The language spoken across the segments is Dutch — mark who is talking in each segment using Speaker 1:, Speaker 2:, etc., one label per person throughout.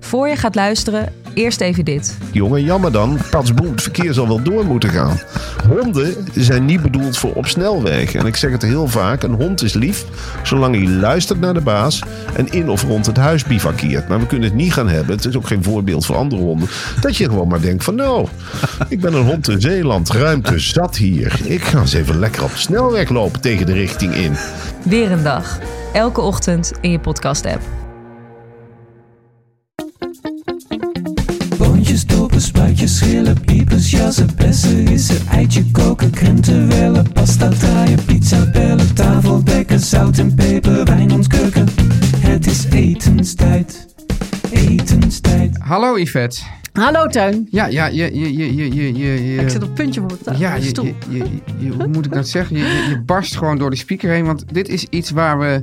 Speaker 1: Voor je gaat luisteren, eerst even dit.
Speaker 2: Jongen, jammer dan. Patsboem, het verkeer zal wel door moeten gaan. Honden zijn niet bedoeld voor op snelwegen. En ik zeg het heel vaak, een hond is lief zolang hij luistert naar de baas... en in of rond het huis bivakkeert. Maar we kunnen het niet gaan hebben, het is ook geen voorbeeld voor andere honden... dat je gewoon maar denkt van nou, ik ben een hond in Zeeland, ruimte zat hier. Ik ga eens even lekker op de snelweg lopen tegen de richting in.
Speaker 1: Weer een dag. Elke ochtend in je podcast-app.
Speaker 3: Boontjes, dopen, spuitjes, schillen, piepers, jassen, bessen, rissen, eitje koken, krenten wellen, pasta draaien, pizza bellen, tafel dekken, zout en peper, wijn ontkurken. Het is etenstijd, etenstijd.
Speaker 4: Hallo Yvette.
Speaker 5: Hallo Tuin.
Speaker 4: Ja, ja, je, je, je, je, je, je- je-
Speaker 5: Ik zit op het puntje van mijn ta-
Speaker 4: ja, je,
Speaker 5: stoel.
Speaker 4: je, je- je- hoe moet ik dat zeggen? Je, je, je barst gewoon door de speaker heen, want dit is iets waar we,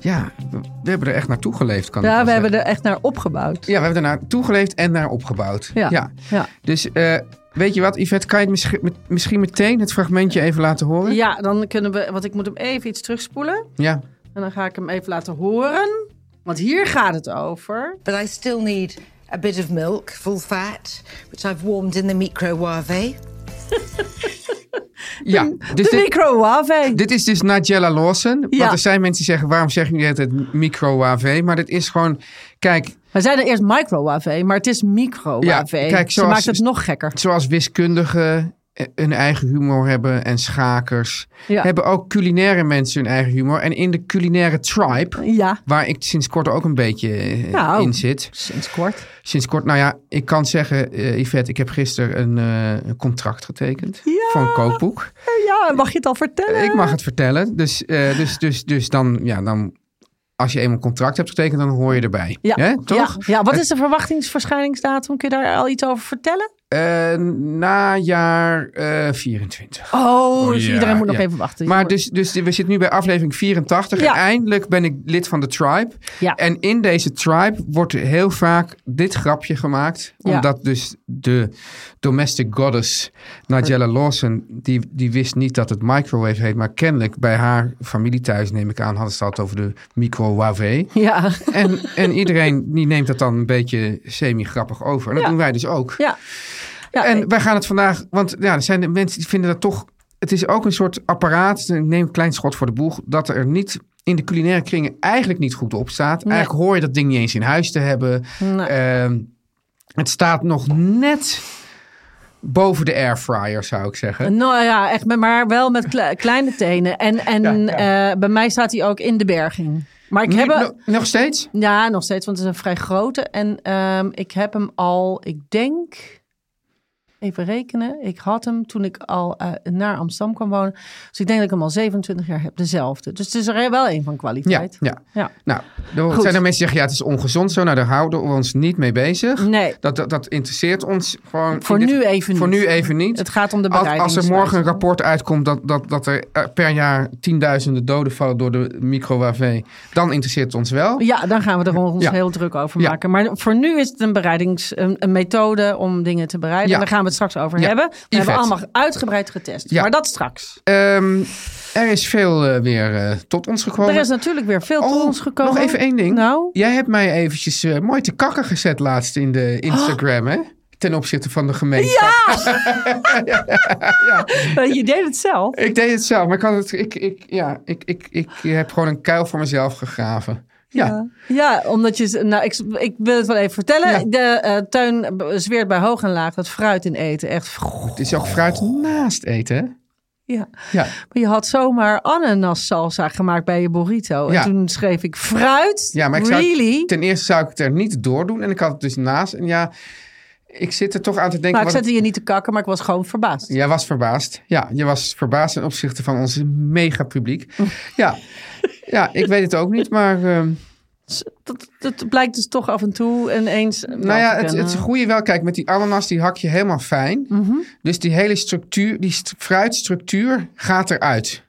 Speaker 4: ja, we, we hebben er echt naartoe geleefd, kan ik
Speaker 5: ja,
Speaker 4: wel
Speaker 5: we hebben
Speaker 4: zeggen.
Speaker 5: er echt naar opgebouwd.
Speaker 4: Ja, we hebben er naartoe geleefd en naar opgebouwd.
Speaker 5: Ja. Ja.
Speaker 4: Dus eh, weet je wat, Yvette, kan je het misschien, met- misschien meteen het fragmentje even laten horen?
Speaker 5: Ja, dan kunnen we, want ik moet hem even iets terugspoelen.
Speaker 4: Ja.
Speaker 5: En dan ga ik hem even laten horen. Want hier gaat het over.
Speaker 6: but I still need a bit of milk, full fat, which I've warmed in the microwave.
Speaker 4: ja. Dus
Speaker 5: de
Speaker 4: dit,
Speaker 5: microwave.
Speaker 4: dit is dus Nigella Lawson.
Speaker 5: Ja.
Speaker 4: Want er zijn mensen die zeggen, waarom zeg je niet het micro-AV? Maar dit is gewoon, kijk,
Speaker 5: We zeiden eerst microwave, maar het is microwave.
Speaker 4: Ja, kijk,
Speaker 5: Ze
Speaker 4: zoals-
Speaker 5: maakt het nog gekker.
Speaker 4: zoals wiskundigen eh, hun eigen humor hebben en schakers,
Speaker 5: Ja.
Speaker 4: hebben ook culinaire mensen hun eigen humor. En in de culinaire tribe,
Speaker 5: Ja,
Speaker 4: waar ik sinds kort ook een beetje eh,
Speaker 5: Nou.
Speaker 4: in zit.
Speaker 5: sinds kort.
Speaker 4: Sinds kort, nou ja, ik kan zeggen, eh, Yvette, ik heb gisteren een, eh, een contract getekend
Speaker 5: Ja.
Speaker 4: voor een kookboek.
Speaker 5: Ja, mag je het al vertellen?
Speaker 4: Ik mag het vertellen. Dus, eh, dus, dus, dus dan, ja, dan, als je eenmaal een contract hebt getekend, dan hoor je erbij.
Speaker 5: Ja,
Speaker 4: Hè, toch?
Speaker 5: Ja, ja. wat is de verwachtingsverschijningsdatum? Kun je daar al iets over vertellen?
Speaker 4: Eh, najaar eh 24.
Speaker 5: Oh, dus
Speaker 4: ja,
Speaker 5: iedereen moet nog
Speaker 4: ja.
Speaker 5: even wachten.
Speaker 4: Maar dus, dus we zitten nu bij aflevering 84.
Speaker 5: Ja.
Speaker 4: En eindelijk ben ik lid van de tribe.
Speaker 5: Ja.
Speaker 4: En in deze tribe wordt heel vaak dit grapje gemaakt.
Speaker 5: Ja.
Speaker 4: Omdat dus de domestic goddess Nigella Lawson... Die, die wist niet dat het microwave heet. Maar kennelijk bij haar familie thuis, neem ik aan... hadden ze het over de microwave.
Speaker 5: Ja,
Speaker 4: En, en iedereen die neemt dat dan een beetje semi-grappig over. En dat
Speaker 5: Ja.
Speaker 4: doen wij dus ook.
Speaker 5: ja. ja
Speaker 4: En wij gaan het vandaag, want ja, er zijn de mensen die vinden dat toch. Het is ook een soort apparaat, ik neem een klein schot voor de boeg, dat er niet in de culinaire kringen eigenlijk niet goed op staat.
Speaker 5: Nee.
Speaker 4: Eigenlijk hoor je dat ding niet eens in huis te hebben.
Speaker 5: Nee.
Speaker 4: Ehm, het staat nog net boven de airfryer, zou ik zeggen.
Speaker 5: Nou ja, echt, met- maar wel met kle- kleine tenen. En, en eh, bij mij staat hij ook in de berging. Maar ik heb
Speaker 4: Niet-
Speaker 5: hem,
Speaker 4: no- nog steeds?
Speaker 5: ja, nog steeds, want het is een vrij grote. En ehm, ik heb hem al, ik denk, even rekenen. Ik had hem toen ik al eh, naar Amsterdam kwam wonen. Dus ik denk dat ik hem al 27 jaar heb, dezelfde. Dus het is er wel een van
Speaker 4: Ja,
Speaker 5: kwaliteit.
Speaker 4: ja.
Speaker 5: Ja.
Speaker 4: Nou, er
Speaker 5: Goed.
Speaker 4: zijn er mensen die zeggen, ja, het is ongezond zo. Nou, daar houden we ons niet mee bezig.
Speaker 5: Nee,
Speaker 4: Dat, dat, dat interesseert ons gewoon. in
Speaker 5: Voor
Speaker 4: dit-
Speaker 5: nu even
Speaker 4: Voor
Speaker 5: niet.
Speaker 4: nu even niet.
Speaker 5: het gaat om de
Speaker 4: Als, als
Speaker 5: bereiding.
Speaker 4: er morgen een rapport uitkomt dat, dat, dat er eh, per jaar tienduizenden doden vallen door de microwave, dan interesseert het ons wel.
Speaker 5: Ja, dan gaan we er ons
Speaker 4: Ja.
Speaker 5: heel druk over
Speaker 4: Ja.
Speaker 5: maken. Maar voor nu is het een bereidings, een, een methode om dingen te bereiden.
Speaker 4: Ja.
Speaker 5: Daar gaan we het straks over
Speaker 4: Ja.
Speaker 5: hebben. We hebben
Speaker 4: Yvette.
Speaker 5: allemaal uitgebreid getest.
Speaker 4: Ja.
Speaker 5: Maar dat straks.
Speaker 4: Ehm, er is veel eh, weer eh, tot ons gekomen.
Speaker 5: Er is natuurlijk weer veel tot
Speaker 4: Oh,
Speaker 5: ons gekomen.
Speaker 4: Nog even één ding.
Speaker 5: Nou,
Speaker 4: Jij hebt mij eventjes eh, mooi te kakken gezet laatst in de
Speaker 5: Oh.
Speaker 4: Instagram, hè? Ten opzichte van de gemeenschap.
Speaker 5: je deed het zelf.
Speaker 4: Ik deed het zelf, maar ik, had het, ik, ik, ja, ik, ik, ik heb gewoon een kuil voor mezelf gegraven. Ja, ja.
Speaker 5: Ja, omdat je... Nou, ik, ik wil het wel even vertellen.
Speaker 4: Ja.
Speaker 5: De eh, tuin zweert bij hoog en laag dat fruit in eten echt...
Speaker 4: het is ook fruit naast eten, hè?
Speaker 5: Ja.
Speaker 4: Ja.
Speaker 5: Maar je had zomaar ananas salsa gemaakt bij je burrito.
Speaker 4: Ja.
Speaker 5: En toen schreef ik fruit.
Speaker 4: Ja, maar ik zou,
Speaker 5: really?
Speaker 4: ten eerste zou ik het er niet door doen. En ik had het dus naast. En ja, ik zit er toch aan te denken.
Speaker 5: Maar ik
Speaker 4: wat het-
Speaker 5: zette je niet te kakken, maar ik was gewoon verbaasd.
Speaker 4: Jij was verbaasd. Ja, je was verbaasd ten opzichte van ons mega publiek. Ja, ja ik weet het ook niet, maar... ehm,
Speaker 5: Dat, dat blijkt dus toch af en toe ineens.
Speaker 4: nou ja, het,
Speaker 5: eh,
Speaker 4: het goede wel, kijk, met die ananas die hak je helemaal fijn.
Speaker 5: Mhm.
Speaker 4: Dus die hele structuur, die st- fruitstructuur gaat eruit.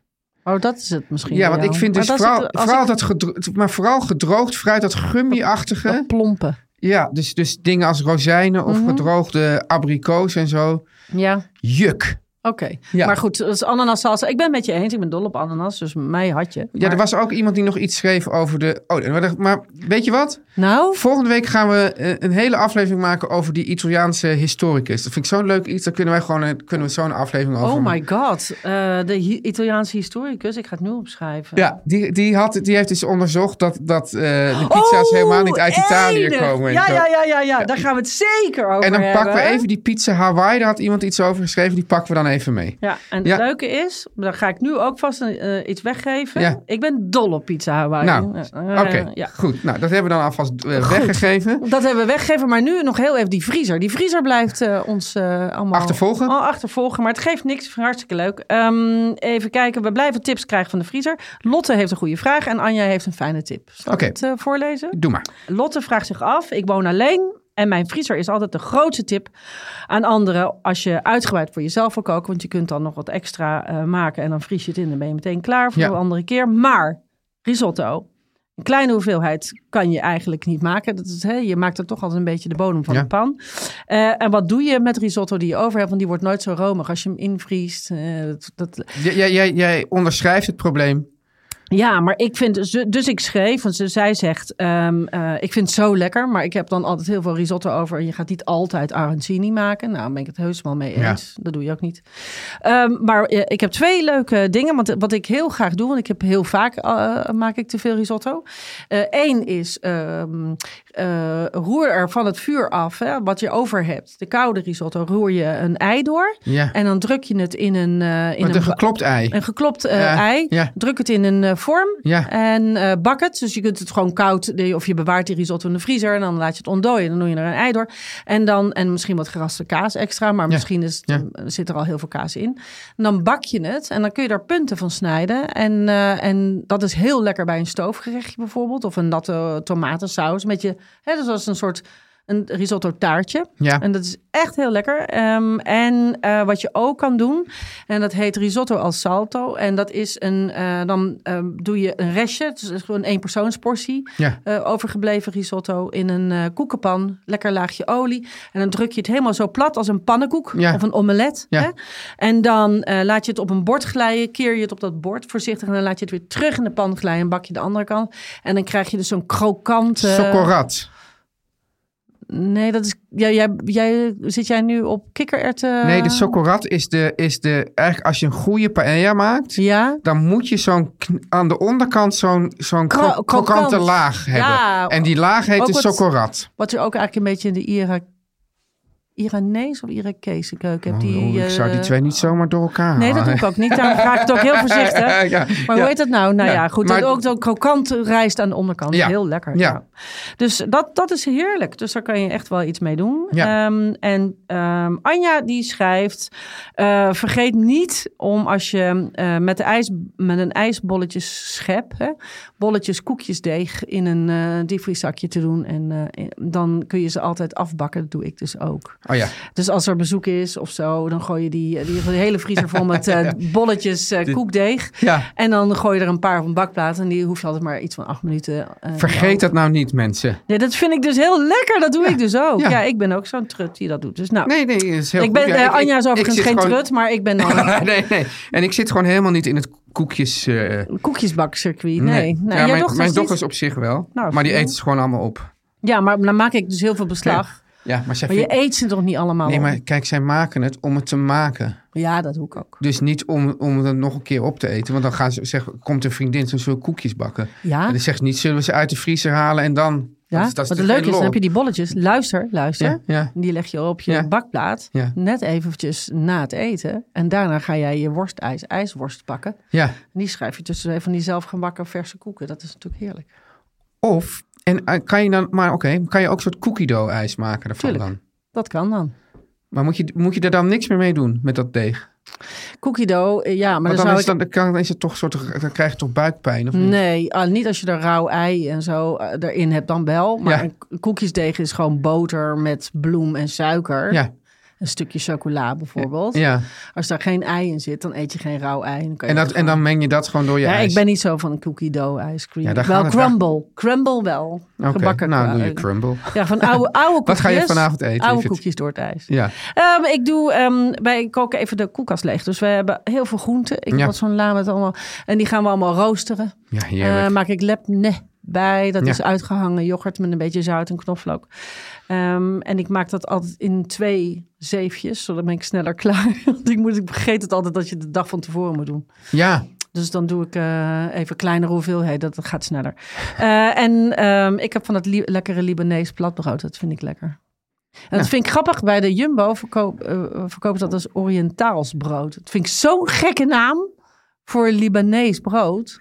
Speaker 5: Oh, dat is het misschien.
Speaker 4: Ja,
Speaker 5: bij
Speaker 4: want ik
Speaker 5: jou.
Speaker 4: vind dus
Speaker 5: Maar dat is
Speaker 4: vooral,
Speaker 5: het- als
Speaker 4: vooral
Speaker 5: ik-
Speaker 4: dat gedro- maar vooral gedroogd fruit, dat gummiachtige.
Speaker 5: dat plompen.
Speaker 4: Ja, dus, dus dingen als rozijnen
Speaker 5: Mhm.
Speaker 4: of gedroogde abrikoos en zo.
Speaker 5: Ja, oké.
Speaker 4: Juk. Ja.
Speaker 5: Maar goed, dus ananas salsa. Ik ben met je eens. Ik ben dol op ananas, dus mij had je.
Speaker 4: Ja, er
Speaker 5: Maar-
Speaker 4: was ook iemand die nog iets schreef over de... Oh, maar- maar weet je wat?
Speaker 5: Nou,
Speaker 4: Volgende week gaan we eh, een hele aflevering maken over die Italiaanse historicus. Dat vind ik zo'n leuk iets. Daar kunnen wij gewoon een- kunnen we zo'n aflevering over.
Speaker 5: oh
Speaker 4: maken.
Speaker 5: my god. Eh, de hi- Italiaanse historicus. Ik ga het nu opschrijven.
Speaker 4: Ja, die, die, had, die heeft dus onderzocht dat, dat eh, de pizza's helemaal niet uit Italië
Speaker 5: Oh, enig.
Speaker 4: komen. en
Speaker 5: Ja,
Speaker 4: zo.
Speaker 5: ja, ja, ja, ja, daar gaan we het zeker over
Speaker 4: En dan
Speaker 5: hebben.
Speaker 4: pakken we even die pizza Hawaii. Daar had iemand iets over geschreven. Die pakken we dan even mee.
Speaker 5: Ja, en het
Speaker 4: Ja.
Speaker 5: leuke is, daar ga ik nu ook vast een, eh, iets weggeven.
Speaker 4: Ja.
Speaker 5: Ik ben dol op pizza Hawaii.
Speaker 4: Nou,
Speaker 5: Eh,
Speaker 4: Oké,
Speaker 5: ja.
Speaker 4: goed. Nou, dat hebben we dan alvast eh, weggegeven.
Speaker 5: Dat hebben we weggegeven, maar nu nog heel even die vriezer. Die vriezer blijft eh, ons eh, allemaal...
Speaker 4: Achtervolgen.
Speaker 5: Al achtervolgen, maar het geeft niks. Hartstikke leuk. Ehm, even kijken, we blijven tips krijgen van de vriezer. Lotte heeft een goede vraag en Anja heeft een fijne tip. Zal
Speaker 4: Oké.
Speaker 5: ik het eh, voorlezen?
Speaker 4: Doe maar.
Speaker 5: Lotte vraagt zich af: ik woon alleen. En mijn vriezer is altijd de grootste tip aan anderen als je uitgebreid voor jezelf wil koken. Want je kunt dan nog wat extra eh, maken en dan vries je het in. Dan ben je meteen klaar voor
Speaker 4: Ja.
Speaker 5: de andere keer. Maar risotto, een kleine hoeveelheid kan je eigenlijk niet maken. Dat is, hè, je maakt er toch altijd een beetje de bodem van
Speaker 4: Ja.
Speaker 5: de pan. Eh, en wat doe je met risotto die je over hebt? Want die wordt nooit zo romig als je hem invriest. eh, dat, dat,
Speaker 4: J- jij- jij- jij onderschrijft het probleem.
Speaker 5: ja, maar ik vind, ze- dus ik schreef, want ze- zij zegt, ehm, eh, ik vind het zo lekker, maar ik heb dan altijd heel veel risotto over. En je gaat niet altijd arancini maken. Nou, daar ben ik het heus wel mee
Speaker 4: Ja.
Speaker 5: eens. Dat doe je ook niet. Ehm, maar eh, ik heb twee leuke dingen, want eh, wat ik heel graag doe, want ik heb heel vaak, eh, maak ik te veel risotto. Eén is, ehm, eh, roer er van het vuur af, hè, wat je over hebt. De koude risotto, roer je een ei door.
Speaker 4: Ja.
Speaker 5: En dan druk je het in een... eh, in
Speaker 4: Met een
Speaker 5: ba-
Speaker 4: geklopt ei.
Speaker 5: een geklopt eh,
Speaker 4: Ja,
Speaker 5: ei.
Speaker 4: ja.
Speaker 5: Druk het in een eh, vorm
Speaker 4: Ja.
Speaker 5: en eh, bak het. Dus je kunt het gewoon koud, de- of je bewaart die risotto in de vriezer en dan laat je het ontdooien. Dan doe je er een ei door. En dan, en misschien wat geraste kaas extra, maar misschien is het- zit er al heel veel kaas in. En dan bak je het en dan kun je daar punten van snijden. En, eh, en dat is heel lekker bij een stoofgerechtje bijvoorbeeld, of een natte eh, tomatensaus. Met je, hè, dus als een soort een risotto taartje.
Speaker 4: Ja.
Speaker 5: En dat is echt heel lekker. Ehm, en eh, wat je ook kan doen, en dat heet risotto al salto. En dat is een, eh, dan ehm, doe je een restje, het is gewoon een eenpersoonsportie.
Speaker 4: Ja.
Speaker 5: eh, overgebleven risotto in een eh, koekenpan, lekker laagje olie. En dan druk je het helemaal zo plat als een pannenkoek
Speaker 4: Ja.
Speaker 5: of een omelet.
Speaker 4: Ja.
Speaker 5: Hè? En dan eh, laat je het op een bord glijden, keer je het op dat bord voorzichtig. En dan laat je het weer terug in de pan glijden en bak je de andere kant. En dan krijg je dus zo'n krokante...
Speaker 4: Sokkorat.
Speaker 5: Nee, dat is. Jij, jij, jij, zit jij nu op kikkererwten?
Speaker 4: Nee, de sokkorat is de, is de... Eigenlijk als je een goede paella maakt...
Speaker 5: Ja.
Speaker 4: dan moet je zo'n kn- aan de onderkant zo'n zo'n
Speaker 5: Kro-
Speaker 4: kro-
Speaker 5: krokant.
Speaker 4: krokante laag hebben.
Speaker 5: Ja.
Speaker 4: en die laag heet
Speaker 5: Ook
Speaker 4: de
Speaker 5: wat-
Speaker 4: sokkorat.
Speaker 5: Wat je ook eigenlijk een beetje in de Ira, Iranese of Irakese keuken hebt. Die,
Speaker 4: Oh, ik zou die
Speaker 5: eh,
Speaker 4: twee niet zomaar door elkaar
Speaker 5: Nee, dat doe ik ook niet. Daar ga ik het ook heel voorzichtig.
Speaker 4: ja,
Speaker 5: Maar
Speaker 4: ja.
Speaker 5: hoe heet dat nou? Nou ja,
Speaker 4: Ja,
Speaker 5: goed.
Speaker 4: maar-
Speaker 5: dat Ook zo'n krokant rijst aan de onderkant.
Speaker 4: Ja.
Speaker 5: Heel lekker. Ja.
Speaker 4: Ja.
Speaker 5: Dus dat, dat is heerlijk. Dus daar kan je echt wel iets mee doen.
Speaker 4: Ja.
Speaker 5: Ehm, en ehm, Anja die schrijft... eh, vergeet niet om als je eh, met, de ijs, met een ijsbolletjes schep... Hè, bolletjes koekjesdeeg in een eh diepvrieszakje te doen. En eh, in- dan kun je ze altijd afbakken. Dat doe ik dus ook.
Speaker 4: Oh ja,
Speaker 5: Dus als er bezoek is of zo... dan gooi je die, eh, die hele vriezer vol met eh, bolletjes eh, koekdeeg...
Speaker 4: ja.
Speaker 5: En dan gooi je er een paar op een bakplaat. En die hoef je altijd maar iets van acht minuten. eh,
Speaker 4: Vergeet dat nou niet, mensen.
Speaker 5: Nee, dat vind ik dus heel lekker. Dat doe ik dus ook. Ja.
Speaker 4: ja.
Speaker 5: ik ben ook zo'n trut die dat doet. Dus nou,
Speaker 4: Nee, nee, is heel
Speaker 5: ik ben,
Speaker 4: goed. Ja,
Speaker 5: eh,
Speaker 4: ik- ik-
Speaker 5: Anja is
Speaker 4: ik
Speaker 5: overigens
Speaker 4: zit
Speaker 5: geen
Speaker 4: gewoon-
Speaker 5: trut, maar ik ben dan
Speaker 4: nee, nee. En ik zit gewoon helemaal niet in het koekjes... eh,
Speaker 5: een koekjesbakcircuit. Nee,
Speaker 4: nee.
Speaker 5: nee.
Speaker 4: Ja,
Speaker 5: jij
Speaker 4: mijn,
Speaker 5: dochters
Speaker 4: mijn
Speaker 5: niet?
Speaker 4: dochters op zich wel.
Speaker 5: Nou,
Speaker 4: maar die
Speaker 5: ja.
Speaker 4: eten ze gewoon allemaal op.
Speaker 5: Ja, maar dan maak ik dus heel veel beslag.
Speaker 4: Ja, maar zij
Speaker 5: Maar je
Speaker 4: vindt-
Speaker 5: eet ze toch niet allemaal
Speaker 4: Nee,
Speaker 5: op?
Speaker 4: maar kijk, zij maken het om het te maken.
Speaker 5: Ja, dat doe ik ook.
Speaker 4: Dus niet om, om het nog een keer op te eten. Want dan gaan ze, zeg, komt een vriendin, ze zullen koekjes bakken.
Speaker 5: Ja?
Speaker 4: En dan zegt ze niet, zullen we ze uit de vriezer halen en dan...
Speaker 5: Ja,
Speaker 4: Dat is- dat is
Speaker 5: wat het
Speaker 4: natuurlijk
Speaker 5: leuke is, dan
Speaker 4: geen
Speaker 5: heb je die bolletjes. Luister, luister.
Speaker 4: Ja, ja.
Speaker 5: Die leg je op je
Speaker 4: Ja.
Speaker 5: bakplaat.
Speaker 4: Ja.
Speaker 5: Net eventjes na het eten. En daarna ga jij je worstijs, ijsworst pakken.
Speaker 4: Ja.
Speaker 5: En die schrijf je tussen twee van die zelfgebakken verse koeken. Dat is natuurlijk heerlijk.
Speaker 4: Of, en eh, kan je dan, maar oké, kan je ook een soort cookie dough ijs maken ervan
Speaker 5: Tuurlijk.
Speaker 4: dan?
Speaker 5: Dat kan dan.
Speaker 4: Maar moet je, moet je daar dan niks meer mee doen met dat deeg?
Speaker 5: Cookie dough, eh, ja, maar
Speaker 4: Maar
Speaker 5: dan,
Speaker 4: dan,
Speaker 5: zou
Speaker 4: is,
Speaker 5: ik...
Speaker 4: dan, dan kan- dan is het toch een soort, dan krijg je toch buikpijn of niet?
Speaker 5: Nee, ah, niet als je er rauw ei en zo eh, erin hebt, dan wel. Maar
Speaker 4: Ja.
Speaker 5: een k- koekjesdeeg is gewoon boter met bloem en suiker.
Speaker 4: Ja,
Speaker 5: Een stukje chocola bijvoorbeeld.
Speaker 4: ja.
Speaker 5: Als daar geen ei in zit, dan eet je geen rauw ei. Dan kan je
Speaker 4: En, dat,
Speaker 5: er
Speaker 4: en dan
Speaker 5: gewoon-
Speaker 4: meng je dat gewoon door je
Speaker 5: ja,
Speaker 4: ijs.
Speaker 5: ik ben niet zo van een cookie dough ijscream.
Speaker 4: Ja, daar
Speaker 5: wel
Speaker 4: gaat het- daar-
Speaker 5: crumble. Crumble wel.
Speaker 4: Oké,
Speaker 5: Gebakken
Speaker 4: nou,
Speaker 5: qua-
Speaker 4: doe je crumble.
Speaker 5: Ja, van oude, oude koekjes.
Speaker 4: Wat ga je vanavond eten,
Speaker 5: Oude
Speaker 4: Evert?
Speaker 5: koekjes door het ijs.
Speaker 4: Ja,
Speaker 5: Ehm, ik doe, ehm, wij koken even de koelkast leeg. Dus we hebben heel veel groenten. Ik
Speaker 4: Ja.
Speaker 5: heb wat zo'n la met allemaal. En die gaan we allemaal roosteren.
Speaker 4: ja heerlijk.
Speaker 5: Eh, maak ik lepne bij. Dat
Speaker 4: Ja.
Speaker 5: is uitgehangen yoghurt met een beetje zout en knoflook. Ehm, en ik maak dat altijd in twee zeefjes, zodat ben ik sneller klaar. Want ik, moet, ik vergeet het altijd dat je de dag van tevoren moet doen.
Speaker 4: ja,
Speaker 5: Dus dan doe ik eh, even kleinere hoeveelheden, dat gaat sneller. Eh, en ehm, ik heb van dat li- lekkere Libanees platbrood, dat vind ik lekker. En dat
Speaker 4: Ja.
Speaker 5: vind ik grappig, bij de Jumbo verkoop, eh, verkopen ze dat als Oriëntaals brood. Dat vind ik zo'n gekke naam voor Libanees brood.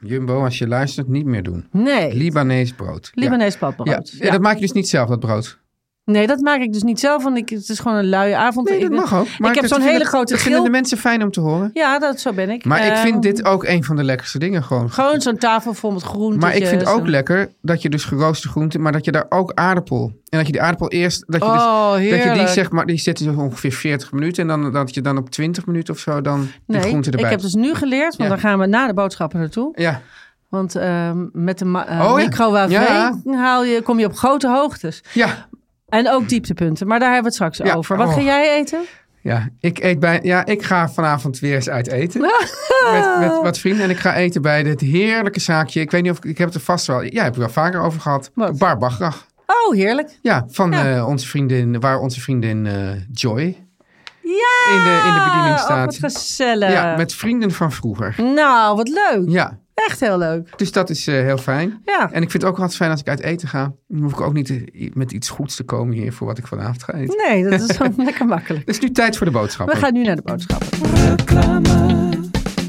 Speaker 4: Jumbo, als je luistert, niet meer doen.
Speaker 5: Nee.
Speaker 4: Libanees brood. Ja.
Speaker 5: Libanees
Speaker 4: Ja.
Speaker 5: platbrood.
Speaker 4: Ja, dat maak je dus niet zelf, dat brood.
Speaker 5: Nee, dat maak ik dus niet zelf, want ik, het is gewoon een luie avond.
Speaker 4: Nee,
Speaker 5: Ik
Speaker 4: dat
Speaker 5: ben-
Speaker 4: mag ook. Maar
Speaker 5: ik heb
Speaker 4: dat
Speaker 5: zo'n
Speaker 4: vinden-
Speaker 5: hele grote
Speaker 4: Dat vinden de
Speaker 5: grill.
Speaker 4: mensen fijn om te horen.
Speaker 5: Ja, dat, zo ben ik.
Speaker 4: Maar ik
Speaker 5: Eh,
Speaker 4: vind dit ook een van de lekkerste dingen gewoon.
Speaker 5: Gewoon zo'n tafel vol met groenten.
Speaker 4: Maar ik vind ook lekker dat je dus geroosterde groenten, maar dat je daar ook aardappel. En dat je die aardappel eerst, dat je, dus-
Speaker 5: Oh,
Speaker 4: dat je die
Speaker 5: heerlijk.
Speaker 4: zeg maar, die zit zo ongeveer 40 minuten. En dan dat je dan op 20 minuten of zo dan die
Speaker 5: Nee,
Speaker 4: groenten erbij.
Speaker 5: ik heb dus nu geleerd, want
Speaker 4: Ja.
Speaker 5: dan gaan we na de boodschappen naartoe.
Speaker 4: Ja,
Speaker 5: Want ehm, met de ma- eh,
Speaker 4: Oh, ja.
Speaker 5: microwave
Speaker 4: Ja.
Speaker 5: haal je, kom je op grote hoogtes.
Speaker 4: ja.
Speaker 5: En ook dieptepunten, maar daar hebben we het straks
Speaker 4: Ja,
Speaker 5: over. Wat
Speaker 4: oh.
Speaker 5: ga jij eten?
Speaker 4: Ja, ik, eet bij, ja, ik ga vanavond weer eens uit eten. met,
Speaker 5: Ah.
Speaker 4: met wat vrienden. En ik ga eten bij dit heerlijke zaakje. Ik weet niet of ik, ik heb het er vast wel. Ja, heb ik wel vaker over gehad.
Speaker 5: Wat?
Speaker 4: Bar Bachrach.
Speaker 5: Oh, heerlijk.
Speaker 4: Ja, van
Speaker 5: Ja.
Speaker 4: eh, onze vriendin, waar onze vriendin eh, Joy
Speaker 5: Ja!
Speaker 4: in de, in de bediening
Speaker 5: Oh,
Speaker 4: staat.
Speaker 5: wat gezellig.
Speaker 4: ja, met vrienden van vroeger.
Speaker 5: Nou, wat leuk.
Speaker 4: Ja,
Speaker 5: Echt heel leuk.
Speaker 4: dus dat is eh, heel fijn.
Speaker 5: Ja.
Speaker 4: En ik vind het ook altijd fijn als ik uit eten ga. Dan hoef ik ook niet eh, met iets goeds te komen hier voor wat ik vanavond ga eten.
Speaker 5: Nee, dat is gewoon lekker makkelijk.
Speaker 4: Het is nu tijd voor de boodschappen.
Speaker 5: We gaan nu naar de boodschappen.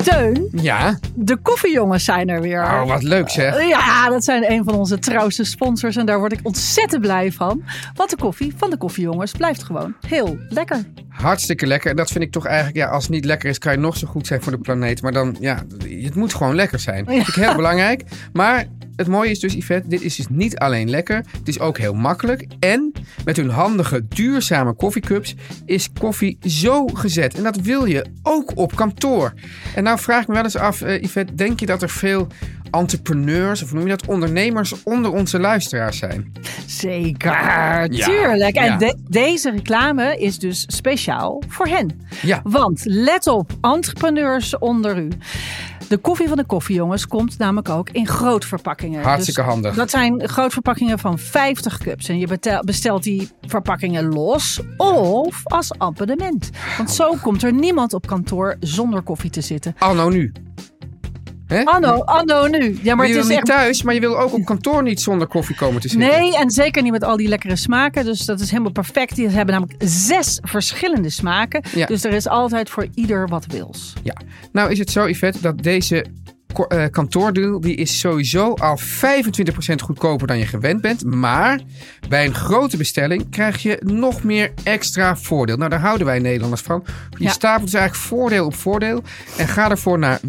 Speaker 5: Teun,
Speaker 4: Ja,
Speaker 5: de koffiejongens zijn er weer.
Speaker 4: oh, wat leuk zeg.
Speaker 5: Ja, dat zijn een van onze trouwste sponsors en daar word ik ontzettend blij van. Want de koffie van de koffiejongens blijft gewoon heel lekker.
Speaker 4: Hartstikke lekker. En dat vind ik toch eigenlijk, ja, als het niet lekker is, kan je nog zo goed zijn voor de planeet. Maar dan, ja, het moet gewoon lekker zijn. Dat vind ik heel belangrijk. Maar het mooie is dus, Yvette, dit is dus niet alleen lekker. Het is ook heel makkelijk. En met hun handige, duurzame koffiecups is koffie zo gezet. En dat wil je ook op kantoor. En nou vraag ik me wel eens af, eh, Yvette, denk je dat er veel entrepreneurs, of hoe noem je dat, ondernemers onder onze luisteraars zijn?
Speaker 5: Zeker,
Speaker 4: Ja,
Speaker 5: tuurlijk. En
Speaker 4: ja.
Speaker 5: de- deze reclame is dus speciaal voor hen.
Speaker 4: Ja.
Speaker 5: Want let op, entrepreneurs onder u. De koffie van de koffiejongens komt namelijk ook in grootverpakkingen. Dus
Speaker 4: Hartstikke handig.
Speaker 5: Dat zijn grootverpakkingen van 50 cups. En je betel- bestelt die verpakkingen los of als abonnement. Want zo komt er niemand op kantoor zonder koffie te zitten.
Speaker 4: Anno nu. Hè?
Speaker 5: Anno, anno nu. Ja, maar
Speaker 4: je
Speaker 5: het
Speaker 4: wil
Speaker 5: is
Speaker 4: niet
Speaker 5: echt...
Speaker 4: thuis, maar je wil ook op kantoor niet zonder koffie komen te zitten.
Speaker 5: Nee, en zeker niet met al die lekkere smaken. Dus dat is helemaal perfect. Die hebben namelijk zes verschillende smaken.
Speaker 4: Ja.
Speaker 5: Dus er is altijd voor ieder wat wils.
Speaker 4: Ja. Nou is het zo, Yvette, dat deze ko- eh, kantoordeal... die is sowieso al 25% goedkoper dan je gewend bent. Maar bij een grote bestelling krijg je nog meer extra voordeel. Nou, daar houden wij Nederlanders van. Je
Speaker 5: Ja.
Speaker 4: stapelt dus eigenlijk voordeel op voordeel. En ga daarvoor naar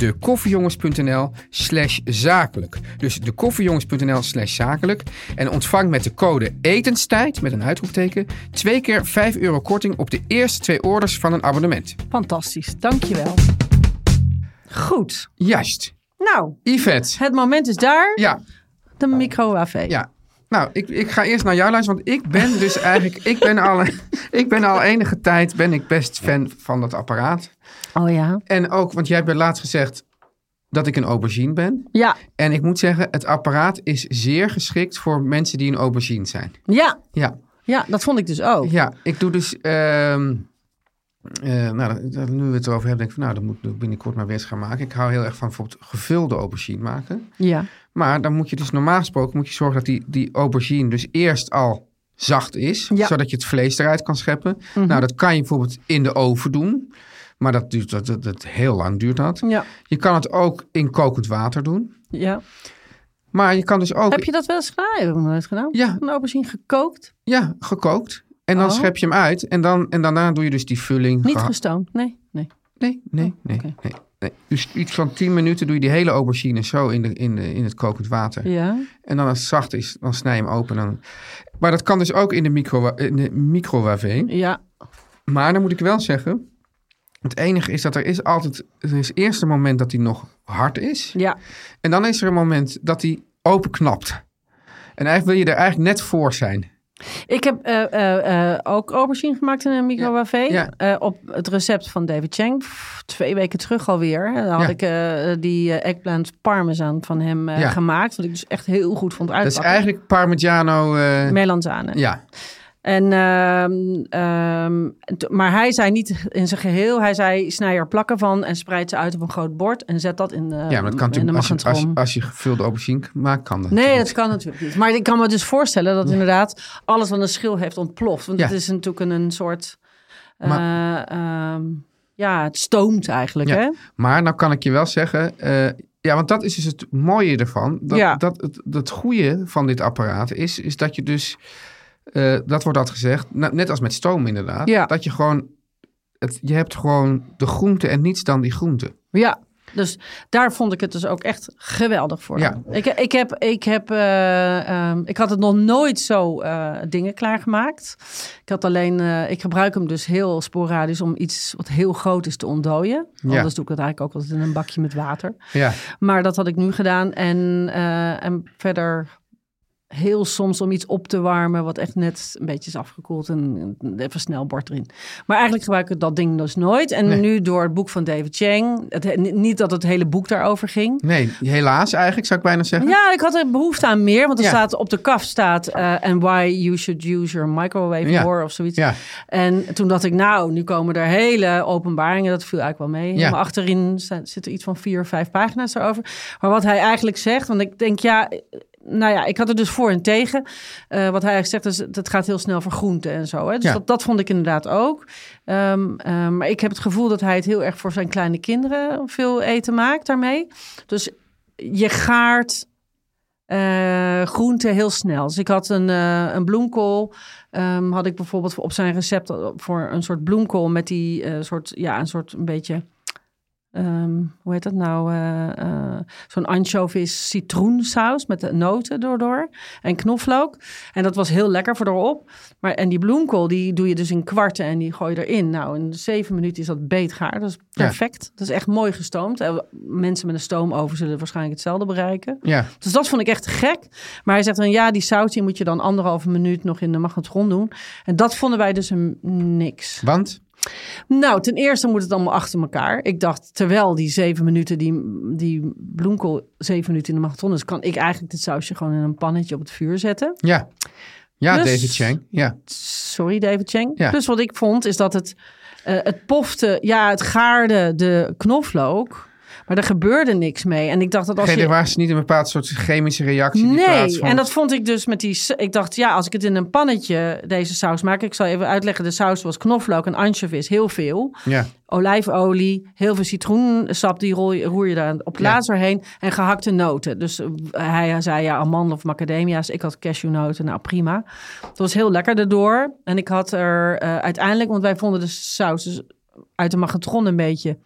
Speaker 4: www.dekoffiejongens.nl slash zakelijk. Dus dekoffiejongens.nl slash zakelijk. En ontvang met de code etenstijd, met een uitroepteken... twee keer 5 euro korting op de eerste twee orders van een abonnement.
Speaker 5: Fantastisch, dankjewel. Goed.
Speaker 4: Juist.
Speaker 5: Nou,
Speaker 4: Yvette.
Speaker 5: het moment is daar.
Speaker 4: Ja,
Speaker 5: De micro-AV.
Speaker 4: ja. Nou, ik, ik ga eerst naar jou luisteren, want ik ben dus eigenlijk... ik, ben al, ik ben al enige tijd ben ik best fan van dat apparaat.
Speaker 5: Oh ja.
Speaker 4: En ook, want jij hebt laatst gezegd dat ik een aubergine ben.
Speaker 5: Ja,
Speaker 4: En ik moet zeggen, het apparaat is zeer geschikt voor mensen die een aubergine zijn.
Speaker 5: ja.
Speaker 4: Ja,
Speaker 5: Ja, dat vond ik dus ook.
Speaker 4: ja ik doe dus... ehm, eh, nou, dat- dat- nu we het erover hebben, denk ik van... Nou, dat moet ik binnenkort maar weer eens gaan maken. Ik hou heel erg van bijvoorbeeld gevulde aubergine maken.
Speaker 5: Ja.
Speaker 4: Maar dan moet je dus normaal gesproken moet je zorgen dat die, die aubergine dus eerst al zacht is.
Speaker 5: Ja. Mhm.
Speaker 4: Zodat je het vlees eruit kan scheppen. Nou, dat kan je bijvoorbeeld in de oven doen. Maar dat duurt dat, dat, dat heel lang duurt dat.
Speaker 5: Ja.
Speaker 4: Je kan het ook in kokend water doen.
Speaker 5: ja.
Speaker 4: Maar je kan dus ook
Speaker 5: Heb je dat wel eens gedaan? Heb ik nog nooit gedaan.
Speaker 4: Ja.
Speaker 5: Een aubergine gekookt.
Speaker 4: ja, gekookt. En dan
Speaker 5: Oh.
Speaker 4: schep je hem uit. En, dan, en daarna doe je dus die vulling.
Speaker 5: Niet
Speaker 4: geha-
Speaker 5: gestoomd. Nee, nee.
Speaker 4: Nee, nee, nee,
Speaker 5: oké.
Speaker 4: nee, nee. Dus iets van 10 minuten doe je die hele aubergine zo in, de, in, de, in het kokend water.
Speaker 5: Ja.
Speaker 4: En dan als het zacht is, dan snij je hem open. Dan... Maar dat kan dus ook in de micro- in de microwave.
Speaker 5: Ja.
Speaker 4: Maar dan moet ik wel zeggen... Het enige is dat er is altijd... Er is eerst een moment dat hij nog hard is.
Speaker 5: Ja.
Speaker 4: En dan is er een moment dat hij openknapt. En eigenlijk wil je er eigenlijk net voor zijn.
Speaker 5: Ik heb eh, eh, eh, ook aubergine gemaakt in een microwave.
Speaker 4: Ja.
Speaker 5: Eh, op het recept van David Chang. Pff, twee weken terug alweer. Daar had
Speaker 4: Ja.
Speaker 5: ik eh, die eh, eggplant parmesan van hem eh,
Speaker 4: Ja.
Speaker 5: gemaakt. Wat ik dus echt heel goed vond
Speaker 4: Dat is
Speaker 5: uitpakken.
Speaker 4: eigenlijk Parmigiano... eh,
Speaker 5: Melanzane.
Speaker 4: ja,
Speaker 5: En, ehm, ehm, t- maar hij zei niet in zijn geheel. Hij zei, snij er plakken van en spreid ze uit op een groot bord. En zet dat in de
Speaker 4: ja, maar dat kan
Speaker 5: in de
Speaker 4: natuurlijk... Als je, als,
Speaker 5: magnetron.
Speaker 4: je- als je gevulde aubergine maakt, kan dat.
Speaker 5: Nee,
Speaker 4: natuurlijk.
Speaker 5: dat kan natuurlijk niet. Maar ik kan me dus voorstellen dat inderdaad alles wat een schil heeft ontploft. Want
Speaker 4: Ja.
Speaker 5: het is natuurlijk een, een soort... eh, ehm, ja, het stoomt eigenlijk,
Speaker 4: Ja.
Speaker 5: hè?
Speaker 4: Maar nou kan ik je wel zeggen. eh, ja, want dat is dus het mooie ervan. Dat,
Speaker 5: Ja.
Speaker 4: dat, het, dat goede van dit apparaat is, is dat je dus. eh, dat wordt dat gezegd, nou, net als met stoom inderdaad.
Speaker 5: Ja.
Speaker 4: Dat je gewoon. Het, je hebt gewoon de groente en niets dan die groente.
Speaker 5: Ja, dus daar vond ik het dus ook echt geweldig voor.
Speaker 4: Ja.
Speaker 5: Ik, ik, heb, ik, heb, eh, ehm, ik had het nog nooit zo eh, dingen klaargemaakt. Ik, had alleen, eh, ik gebruik hem dus heel sporadisch om iets wat heel groot is te ontdooien.
Speaker 4: Ja.
Speaker 5: Anders doe ik het eigenlijk ook altijd in een bakje met water.
Speaker 4: Ja.
Speaker 5: Maar dat had ik nu gedaan. En, eh, en verder heel soms om iets op te warmen... wat echt net een beetje is afgekoeld. En even snel bord erin. Maar eigenlijk gebruik ik dat ding dus nooit. En
Speaker 4: Nee.
Speaker 5: nu door het boek van David Chang... Het, he- ni- niet dat het hele boek daarover ging...
Speaker 4: Nee, helaas eigenlijk zou ik bijna zeggen.
Speaker 5: Ja, ik had er behoefte aan meer. Want er
Speaker 4: Ja.
Speaker 5: staat op de kaf staat... eh and why you should use your microwave
Speaker 4: Ja.
Speaker 5: more of zoiets.
Speaker 4: Ja.
Speaker 5: En toen dacht ik, nou, nu komen er hele openbaringen. Dat viel eigenlijk wel mee.
Speaker 4: Ja.
Speaker 5: Maar achterin sta- zitten iets van vier, vijf pagina's daarover. Maar wat hij eigenlijk zegt, want ik denk, ja... Nou ja, ik had er dus voor en tegen. Eh, wat hij eigenlijk zegt is, dat gaat heel snel voor groenten en zo. Hè? Dus
Speaker 4: Ja.
Speaker 5: dat, dat vond ik inderdaad ook. Ehm, ehm, maar ik heb het gevoel dat hij het heel erg voor zijn kleine kinderen veel eten maakt daarmee. Dus je gaart eh groenten heel snel. Dus ik had een, eh, een bloemkool. ehm, had ik bijvoorbeeld op zijn recept eh, voor een soort bloemkool met die eh, soort, ja, een soort een beetje. ehm, hoe heet dat nou? eh, eh, Zo'n anchovies citroensaus met de noten erdoor en knoflook. En dat was heel lekker voor erop. Maar, en die bloemkool, die doe je dus in kwarten en die gooi je erin. Nou, in zeven minuten is dat beetgaar. Dat is perfect. Dat is echt mooi gestoomd. En Mensen met een stoomoven zullen waarschijnlijk hetzelfde bereiken.
Speaker 4: Ja.
Speaker 5: Dus dat vond ik echt gek. Maar hij zegt dan, ja, die saus die moet je dan anderhalve minuut nog in de magnetron doen. En dat vonden wij dus een niks.
Speaker 4: Want
Speaker 5: Nou, ten eerste moet het allemaal achter elkaar. Ik dacht, terwijl die zeven minuten, die, die bloemkool zeven minuten in de magnetron is, kan ik eigenlijk dit sausje gewoon in een pannetje op het vuur zetten.
Speaker 4: ja. Ja,
Speaker 5: Dus-
Speaker 4: David Chang. Ja.
Speaker 5: Sorry, David Chang.
Speaker 4: Ja.
Speaker 5: Dus wat ik vond, is dat het, eh, het pofte, ja, het gaarde de knoflook. Maar er gebeurde niks mee. En ik dacht dat als
Speaker 4: Geen,
Speaker 5: je...
Speaker 4: er was niet een bepaald soort chemische reactie die
Speaker 5: Nee,
Speaker 4: plaatsvond.
Speaker 5: en dat vond ik dus met die... s- Ik dacht, ja, als ik het in een pannetje, deze saus maak... Ik zal even uitleggen, de saus was knoflook en anchovies, heel veel.
Speaker 4: Ja.
Speaker 5: Olijfolie, heel veel citroensap, die roer je, roer je daar op
Speaker 4: Ja.
Speaker 5: lazer heen. En gehakte noten. Dus eh, hij zei, ja, amandel of macadamia's. Ik had cashewnoten, nou prima. Het was heel lekker daardoor. En ik had er eh, uiteindelijk... Want wij vonden de saus dus uit de magnetron een beetje...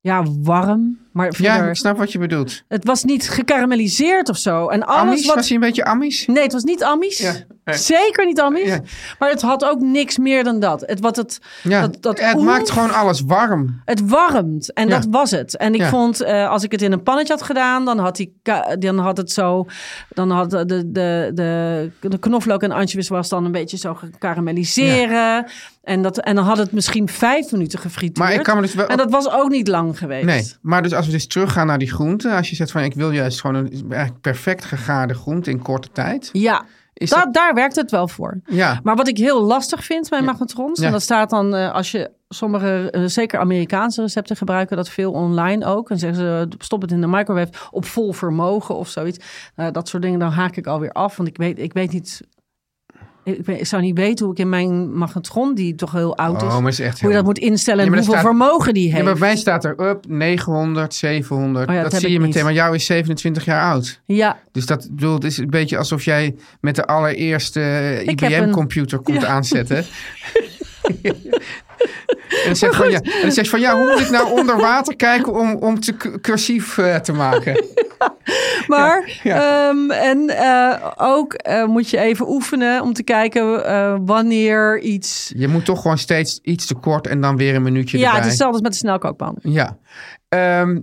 Speaker 5: Ja, warm. Maar
Speaker 4: ja,
Speaker 5: verder-
Speaker 4: ik snap wat je bedoelt.
Speaker 5: het was niet gekarameliseerd of zo. En alles
Speaker 4: Amis?
Speaker 5: wat...
Speaker 4: Was hij een beetje Amis?
Speaker 5: Nee, het was niet Amish.
Speaker 4: Ja, nee.
Speaker 5: Zeker niet Amish.
Speaker 4: Ja.
Speaker 5: Maar het had ook niks meer dan dat. Het, wat het,
Speaker 4: Ja.
Speaker 5: dat, dat
Speaker 4: het
Speaker 5: oeh,
Speaker 4: maakt gewoon alles warm.
Speaker 5: het warmt. En
Speaker 4: Ja.
Speaker 5: dat was het. En ik
Speaker 4: Ja.
Speaker 5: vond, eh, als ik het in een pannetje had gedaan, dan had, die, ka- dan had het zo... Dan had de, de, de, de, de knoflook en anchovies was dan een beetje zo gekarameliseerd. En, dat, en dan had het misschien vijf minuten gefrituurd.
Speaker 4: Maar ik kan me dus wel...
Speaker 5: En dat was ook niet lang geweest.
Speaker 4: Nee, maar dus als we dus teruggaan naar die groenten. Als je zegt van ik wil juist gewoon een eigenlijk perfect gegaarde groente in korte tijd.
Speaker 5: Ja,
Speaker 4: Is
Speaker 5: Dat, daar werkt het wel voor.
Speaker 4: Ja.
Speaker 5: Maar wat ik heel lastig vind bij magnetrons,
Speaker 4: Ja.
Speaker 5: en dat staat dan eh, als je sommige, eh, zeker Amerikaanse recepten gebruiken, dat veel online ook. En zeggen ze, eh, stop het in de microwave op vol vermogen of zoiets. Nou, dat soort dingen, dan haak ik alweer af, want ik weet, ik weet niet... Ik, weet- ik zou niet weten hoe ik in mijn magnetron, die toch heel oud is,
Speaker 4: Oh, maar is echt
Speaker 5: dus- hoe je
Speaker 4: heel-
Speaker 5: dat moet instellen
Speaker 4: Ja,
Speaker 5: en
Speaker 4: maar
Speaker 5: hoeveel
Speaker 4: daar
Speaker 5: vermogen die
Speaker 4: Ja,
Speaker 5: heeft.
Speaker 4: maar bij mij staat er up 900, 700.
Speaker 5: Oh ja, dat
Speaker 4: dat
Speaker 5: heb
Speaker 4: zie
Speaker 5: ik
Speaker 4: je
Speaker 5: niet.
Speaker 4: meteen. Maar jou is 27 jaar oud.
Speaker 5: Ja,
Speaker 4: Dus dat ik bedoel, het is een beetje alsof jij met de allereerste
Speaker 5: Ik heb een-
Speaker 4: IBM-computer komt aanzetten. en dan zegt van ja, en dan zegt van ja, hoe moet ik nou onder water kijken om, om te cu- cursief eh, te maken?
Speaker 5: Maar, ehm, en eh, ook eh, moet je even oefenen om te kijken eh, wanneer iets...
Speaker 4: Je moet toch gewoon steeds iets te kort en dan weer een minuutje
Speaker 5: Ja, dus
Speaker 4: erbij.
Speaker 5: het is hetzelfde als met de snelkookpan.
Speaker 4: Ja. Ehm,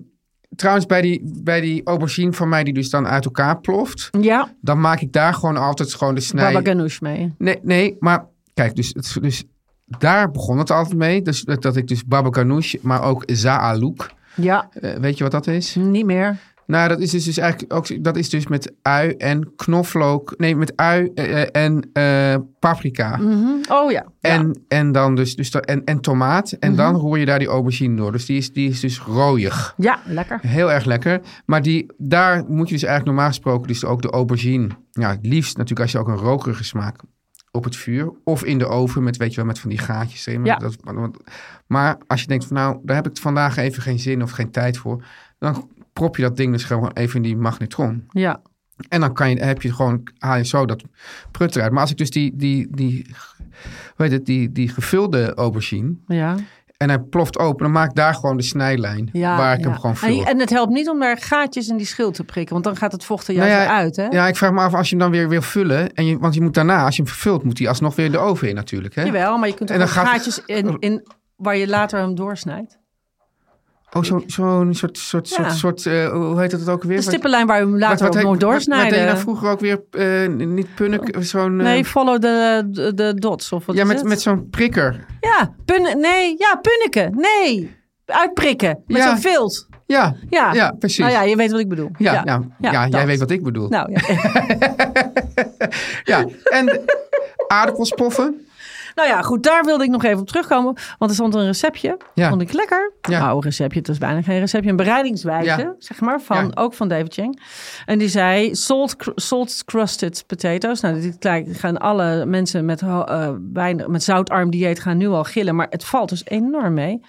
Speaker 4: trouwens, bij die, bij die aubergine van mij die dus dan uit elkaar ploft,
Speaker 5: Ja,
Speaker 4: dan maak ik daar gewoon altijd gewoon de snij.
Speaker 5: baba ganoush mee.
Speaker 4: Nee, nee, maar kijk, dus, het- dus daar begon het altijd mee. Dus dat, dat ik dus baba ganoush, maar ook zaalouk.
Speaker 5: Ja,
Speaker 4: Eh, weet je wat dat is?
Speaker 5: niet meer.
Speaker 4: Nou, dat is dus, dus eigenlijk ook, dat is dus met ui en knoflook. Nee, met ui eh, eh, en eh, paprika.
Speaker 5: Oh ja. Mhm.
Speaker 4: En, en dan dus, dus da- en, en tomaat. En dan roer je daar die aubergine door. Dus die is, die is dus rooiig.
Speaker 5: Ja, lekker.
Speaker 4: Heel erg lekker. Maar die, daar moet je dus eigenlijk normaal gesproken dus ook de aubergine. Ja, het liefst natuurlijk als je ook een rokerige smaak op het vuur. Of in de oven met, weet je wel, met van die gaatjes erin.
Speaker 5: Ja.
Speaker 4: Dat- want- maar als je denkt van nou, daar heb ik vandaag even geen zin of geen tijd voor. Dan prop je dat ding dus gewoon even in die magnetron.
Speaker 5: Ja.
Speaker 4: En dan kan je, heb je gewoon, haal je zo dat prut eruit. Maar als ik dus die, die, die, hoe heet het, die, die gevulde aubergine...
Speaker 5: Ja,
Speaker 4: en hij ploft open, dan maak ik daar gewoon de snijlijn...
Speaker 5: ja,
Speaker 4: waar ik
Speaker 5: ja.
Speaker 4: hem gewoon vul.
Speaker 5: En, en het helpt niet om daar gaatjes in die schil te prikken, want dan gaat het vocht er
Speaker 4: Nou
Speaker 5: juist weer uit, hè?
Speaker 4: ja, ik vraag me af als je hem dan weer wil vullen. En je, want je moet daarna, als je hem vervult, moet hij alsnog weer de oven in natuurlijk. Hè?
Speaker 5: Jawel, maar je kunt er
Speaker 4: En dan
Speaker 5: ook
Speaker 4: gaat-
Speaker 5: gaatjes in, in waar je later hem doorsnijdt.
Speaker 4: Oh, zo'n zo soort, soort,
Speaker 5: Ja.
Speaker 4: soort, soort eh, hoe heet dat ook weer?
Speaker 5: De stippenlijn waar je hem later ook
Speaker 4: heet-
Speaker 5: nooit
Speaker 4: Wat, wat deed je
Speaker 5: doorsnijdt.
Speaker 4: nou vroeger ook weer, eh, niet punnik, zo'n... eh,
Speaker 5: Nee, follow the, the, the dots of wat
Speaker 4: ja,
Speaker 5: is
Speaker 4: met,
Speaker 5: het?
Speaker 4: met zo'n prikker.
Speaker 5: Ja, pun nee, ja, punneken. Nee, uitprikken. Met
Speaker 4: Ja.
Speaker 5: zo'n vilt.
Speaker 4: Ja,
Speaker 5: Ja.
Speaker 4: ja precies.
Speaker 5: Nou ja, je weet wat ik bedoel.
Speaker 4: Ja, ja, ja, jij
Speaker 5: dat.
Speaker 4: weet wat ik bedoel.
Speaker 5: Nou, ja.
Speaker 4: Ja, en aardappelspoffen.
Speaker 5: nou ja, goed, daar wilde ik nog even op terugkomen. Want er stond een receptje.
Speaker 4: Ja.
Speaker 5: Vond ik lekker.
Speaker 4: Ja.
Speaker 5: Nou, een receptje, het is bijna geen receptje. Een bereidingswijze,
Speaker 4: Ja.
Speaker 5: zeg maar, van,
Speaker 4: Ja.
Speaker 5: ook van David Chang. En die zei salt, cr- salt crusted potatoes. Nou, dit kijk, gaan alle mensen met, ho- eh, weinig, met zoutarm dieet gaan nu al gillen. Maar het valt dus enorm mee.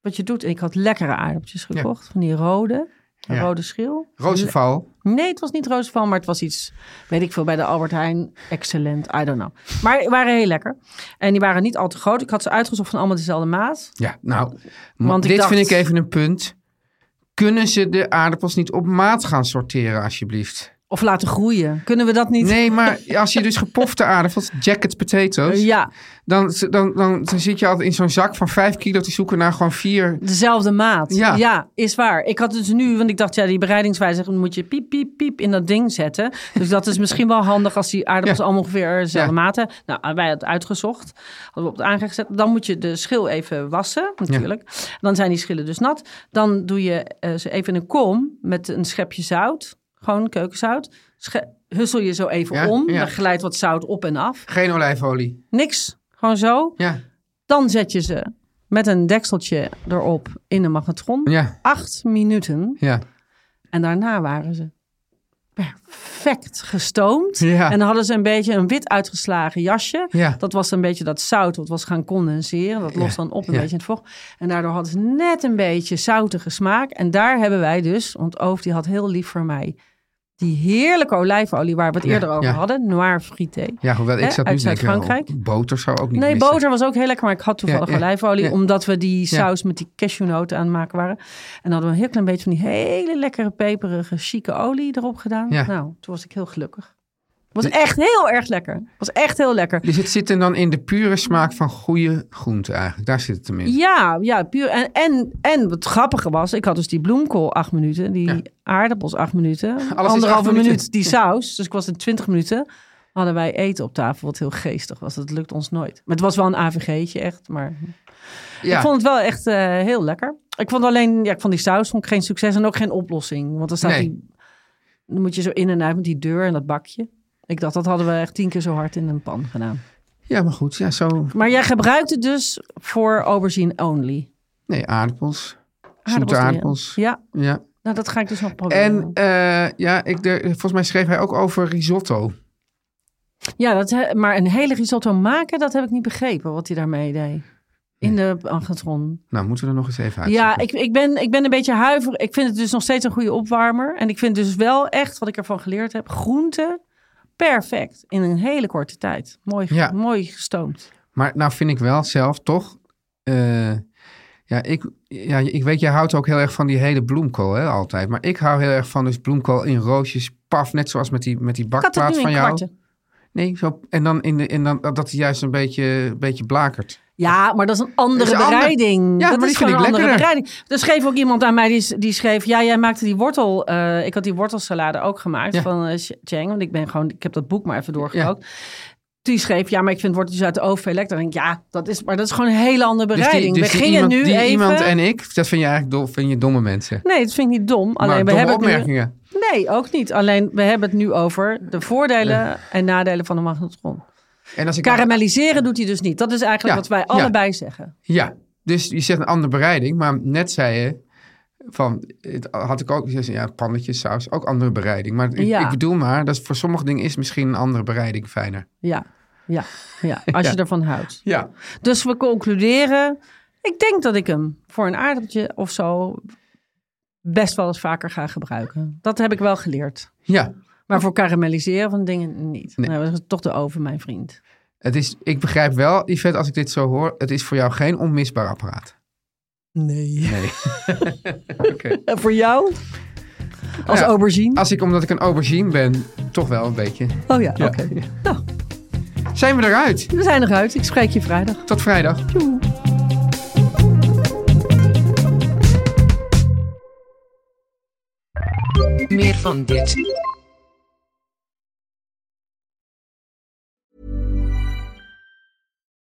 Speaker 5: Wat je doet, en ik had lekkere aardappeltjes gekocht. Van die rode,
Speaker 4: Ja.
Speaker 5: rode schil.
Speaker 4: Rozenval.
Speaker 5: Nee, het was niet Roosval, maar het was iets, weet ik veel, bij de Albert Heijn. Excellent, I don't know. Maar die waren heel lekker. En die waren niet al te groot. Ik had ze uitgezocht van allemaal dezelfde maat.
Speaker 4: Ja, nou,
Speaker 5: Want ik
Speaker 4: dit
Speaker 5: dacht-
Speaker 4: vind ik even een punt. Kunnen ze de aardappels niet op maat gaan sorteren, alsjeblieft?
Speaker 5: Of laten groeien. Kunnen we dat niet?
Speaker 4: Nee, maar als je dus gepofte aardappels, jacket potatoes,
Speaker 5: Ja,
Speaker 4: dan, dan, dan, dan zit je altijd in zo'n zak van 5 kilo te zoeken naar gewoon vier.
Speaker 5: dezelfde maat.
Speaker 4: Ja.
Speaker 5: is waar. Ik had dus nu, want ik dacht, ja, die bereidingswijze dan moet je piep, piep, piep in dat ding zetten. Dus dat is misschien wel handig als die aardappels
Speaker 4: Ja.
Speaker 5: allemaal ongeveer dezelfde
Speaker 4: Ja.
Speaker 5: maat hebben. Nou, wij hadden het uitgezocht. Hadden we op het aanrecht gezet. Dan moet je de schil even wassen, natuurlijk. Dan zijn die schillen dus nat. Dan doe je eh, ze even in een kom met een schepje zout. Gewoon keukenzout. Sche- Hussel je zo even
Speaker 4: Ja,
Speaker 5: om.
Speaker 4: ja.
Speaker 5: Dan glijdt wat zout op en af.
Speaker 4: Geen olijfolie.
Speaker 5: Niks. Gewoon zo.
Speaker 4: Ja,
Speaker 5: Dan zet je ze met een dekseltje erop in de magnetron.
Speaker 4: ja,
Speaker 5: Acht minuten.
Speaker 4: ja.
Speaker 5: En daarna waren ze perfect gestoomd.
Speaker 4: Ja.
Speaker 5: En dan hadden ze een beetje een wit uitgeslagen jasje.
Speaker 4: Ja.
Speaker 5: Dat was een beetje dat zout wat was gaan condenseren. Dat lost dan op een
Speaker 4: ja.
Speaker 5: beetje in het vocht. En daardoor hadden ze net een beetje zoutige smaak. En daar hebben wij dus, want Oof die had heel lief voor mij... die heerlijke olijfolie waar we het
Speaker 4: Ja,
Speaker 5: eerder over
Speaker 4: ja.
Speaker 5: hadden. Noir frité.
Speaker 4: Ja, hoewel
Speaker 5: Hè,
Speaker 4: ik zat nu
Speaker 5: uit
Speaker 4: te denken,
Speaker 5: Zuid-Frankrijk.
Speaker 4: oh, boter zou ook niet
Speaker 5: Nee,
Speaker 4: missen.
Speaker 5: boter was ook heel lekker, maar ik had toevallig
Speaker 4: Ja, ja,
Speaker 5: olijfolie.
Speaker 4: ja.
Speaker 5: Omdat we die
Speaker 4: Ja.
Speaker 5: saus met die cashewnoten aan het maken waren. En dan hadden we een heel klein beetje van die hele lekkere, peperige, chique olie erop gedaan.
Speaker 4: Ja.
Speaker 5: Nou, toen was ik heel gelukkig. Het was echt heel erg lekker. was echt heel lekker.
Speaker 4: Dus het zit hem dan in de pure smaak van goede groente eigenlijk. Daar zit het hem in.
Speaker 5: Ja, ja, puur. En, en, en het grappige was, ik had dus die bloemkool acht minuten, die
Speaker 4: Ja.
Speaker 5: aardappels acht minuten,
Speaker 4: acht
Speaker 5: anderhalve
Speaker 4: minuten.
Speaker 5: minuut die saus. Dus ik was in twintig minuten. Hadden wij eten op tafel, wat heel geestig was. Dat lukt ons nooit. Maar het was wel een AVG'tje echt, maar
Speaker 4: Ja,
Speaker 5: Ik vond het wel echt eh, heel lekker. Ik vond alleen, ja, ik vond die saus vond ik geen succes en ook geen oplossing. Want dan staat
Speaker 4: Nee.
Speaker 5: die, dan moet je zo in en uit met die deur en dat bakje. Ik dacht, dat hadden we echt tien keer zo hard in een pan gedaan.
Speaker 4: Ja, maar goed. Ja, zo.
Speaker 5: Maar jij gebruikt het dus voor aubergine only.
Speaker 4: Nee, aardappels. Zoete
Speaker 5: Aardappels.
Speaker 4: aardappels.
Speaker 5: Ja,
Speaker 4: Ja.
Speaker 5: nou dat ga ik dus nog proberen.
Speaker 4: En eh, ja, ik, de, volgens mij schreef hij ook over risotto.
Speaker 5: Ja, dat, he- maar een hele risotto maken, dat heb ik niet begrepen wat hij daarmee deed. In de angatron.
Speaker 4: Nou, moeten we er nog eens even uit.
Speaker 5: Ja, ik, ik, ben, ik ben een beetje huiverig. Ik vind het dus nog steeds een goede opwarmer. En ik vind dus wel echt, wat ik ervan geleerd heb, groente perfect. In een hele korte tijd. Mooi, ge-
Speaker 4: Ja.
Speaker 5: mooi gestoomd.
Speaker 4: Maar nou vind ik wel zelf toch... eh, ja, ik, ja, ik weet, jij houdt ook heel erg van die hele bloemkool hè, altijd. Maar ik hou heel erg van dus bloemkool in roosjes, paf. Net zoals met die, met die
Speaker 5: Ik had het
Speaker 4: bakplaat
Speaker 5: nu
Speaker 4: van
Speaker 5: in
Speaker 4: jou.
Speaker 5: kwarten.
Speaker 4: Nee, zo, en, dan in de, en dan dat hij juist een beetje, een beetje blakert.
Speaker 5: Ja, maar dat is een andere
Speaker 4: Dat is een ander-
Speaker 5: bereiding.
Speaker 4: Ja,
Speaker 5: dat
Speaker 4: maar
Speaker 5: is
Speaker 4: die vind
Speaker 5: gewoon een
Speaker 4: ik
Speaker 5: andere
Speaker 4: lekkerder.
Speaker 5: bereiding. Er schreef ook iemand aan mij, die, s- die schreef... Ja, jij maakte die wortel... eh, ik had die wortelsalade ook gemaakt
Speaker 4: Ja.
Speaker 5: van eh, Ch- Cheng. Want ik, ben gewoon, ik heb dat boek maar even doorgerookt. Die schreef, ja, maar ik vind worteltjes uit de oven veel lekkerder. Dan denk ik, ja, dat is, maar dat is gewoon een hele andere
Speaker 4: Dus die-
Speaker 5: bereiding.
Speaker 4: dus die
Speaker 5: We gingen
Speaker 4: iemand,
Speaker 5: nu
Speaker 4: die
Speaker 5: even...
Speaker 4: iemand en ik, dat vind je eigenlijk dol, vind je domme mensen.
Speaker 5: Nee, dat vind ik niet dom. Alleen
Speaker 4: maar
Speaker 5: we
Speaker 4: domme
Speaker 5: hebben het nu...
Speaker 4: opmerkingen.
Speaker 5: Nee, ook niet. Alleen we hebben het nu over de voordelen en nadelen van de magnetron.
Speaker 4: En als ik
Speaker 5: Karamelliseren doet hij dus niet. Dat is eigenlijk
Speaker 4: Ja,
Speaker 5: wat wij
Speaker 4: ja.
Speaker 5: allebei zeggen.
Speaker 4: Ja, dus je zegt een andere bereiding, maar net zei je van, het had ik ook, je zei, ja, pannetjes, saus, ook andere bereiding. Maar ik,
Speaker 5: Ja.
Speaker 4: ik bedoel maar, dat voor sommige dingen is misschien een andere bereiding fijner.
Speaker 5: Ja, ja, ja. Als je ervan houdt.
Speaker 4: Ja.
Speaker 5: Dus we concluderen. Ik denk dat ik hem voor een aardappeltje of zo best wel eens vaker ga gebruiken. Dat heb ik wel geleerd.
Speaker 4: Ja,
Speaker 5: Maar voor karamelliseren van dingen niet.
Speaker 4: Nee.
Speaker 5: Nee. dat is toch de oven, mijn vriend.
Speaker 4: het is, ik begrijp wel, Yvette, als ik dit zo hoor, het is voor jou geen onmisbaar apparaat.
Speaker 5: Nee.
Speaker 4: Nee. Oké.
Speaker 5: En voor jou? Als
Speaker 4: Ja.
Speaker 5: aubergine?
Speaker 4: Als ik, omdat ik een aubergine ben, toch wel een beetje.
Speaker 5: Oh ja, oké. Nou,
Speaker 4: Zijn we eruit?
Speaker 5: we zijn eruit. Ik spreek je vrijdag.
Speaker 4: Tot vrijdag.
Speaker 7: Meer van dit.